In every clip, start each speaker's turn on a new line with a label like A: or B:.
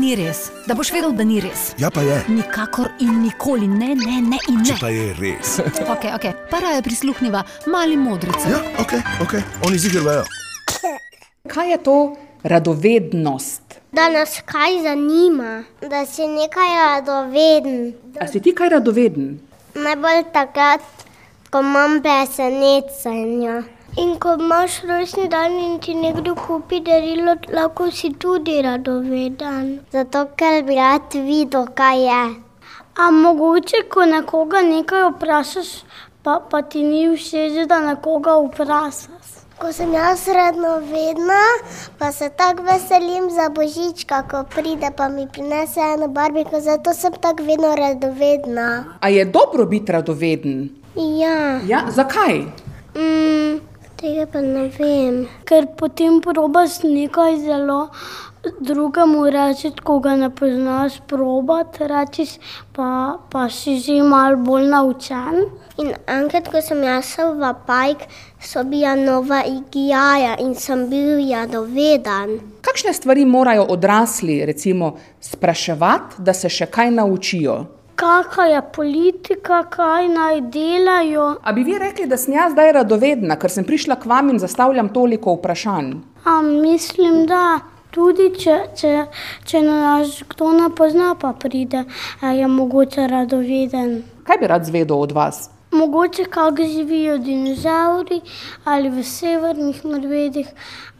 A: ni res, da boš vedel, da ni res.
B: Ja, pa je.
A: Nikakor in nikoli ne, ne, ne in
B: Če
A: ne.
B: pa je res.
A: Okay, okay. Para je prisluhnila mali modrici.
B: Ja, ok, ok, oni zigrajo.
C: Kaj je to radovednost?
D: Da nas kaj zanima, da si nekaj radoveden.
C: A si ti kaj radoveden?
D: Najbolj takrat, ko imam presenečenja. In ko imaš rojstni dan in ti nekdo kupi darilo, lahko si tudi radoveden. Zato, ker bi rad videl, kaj je. A mogoče, ko nekoga nekaj vprašaš, pa, pa ti ni všeč, da nekoga vprašaš. Ko sem jaz radovedna, pa se tako veselim za božička, ko pride pa mi prinese eno barbiko, zato sem tako vedno radovedna.
C: A je dobro biti radoveden?
D: Ja,
C: Ja, zakaj?
D: mm, tega pa ne vem. Ker potem probaš nekaj zelo drugemu reči, ko ga ne poznaš, probat reči, pa, pa si že malo bolj naučen. In enkrat, ko sem jaz šel v Pajk, so bila nova igijaja in sem bil jadoveden.
C: Kakšne stvari morajo odrasli, recimo, spraševati, da se še kaj naučijo?
D: Kakšna je politika, kaj naj delajo?
C: A bi vi rekli, da sem jaz zdaj radovedna, ker sem prišla k vam in zastavljam toliko vprašanj?
D: A mislim, da tudi če, če, če nas kdo ne pozna, pa pride, a je mogoče radoveden.
C: Kaj bi rad zvedel od vas?
D: Mogoče kako živijo dinozauri ali v severnih medvedih.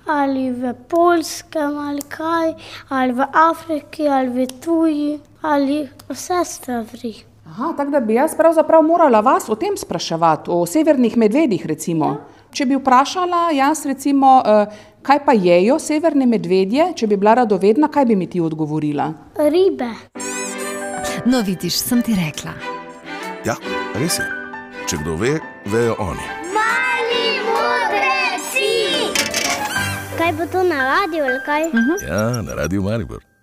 D: Ali v Polskem, ali kaj, ali v Afriki, ali v Tuji, ali vse stvari.
C: Aha, tako da bi jaz pravzaprav morala vas o tem spraševati, o severnih medvedih recimo. Če bi vprašala jaz recimo, eh, kaj pa jejo severne medvedje, če bi bila radovedna, kaj bi mi ti odgovorila?
D: Ribe.
A: No, vidiš, sem ti rekla.
B: Ja, res je. Če kdo ve, vejo oni.
D: Mali modri si! Kaj bo to na radiju ali kaj?
B: Ja, na radiju Maribor.